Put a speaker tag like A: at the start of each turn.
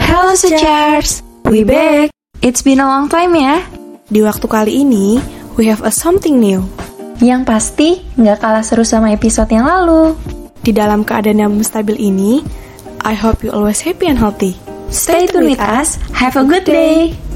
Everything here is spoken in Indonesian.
A: Halo Suchars, we back. It's been a long time ya.
B: Di waktu kali ini, we have a something new.
A: Yang pasti nggak kalah seru sama episode yang lalu.
B: Di dalam keadaan yang belum stabil ini, I hope you always happy and healthy.
A: Stay tuned with us. Have a good day.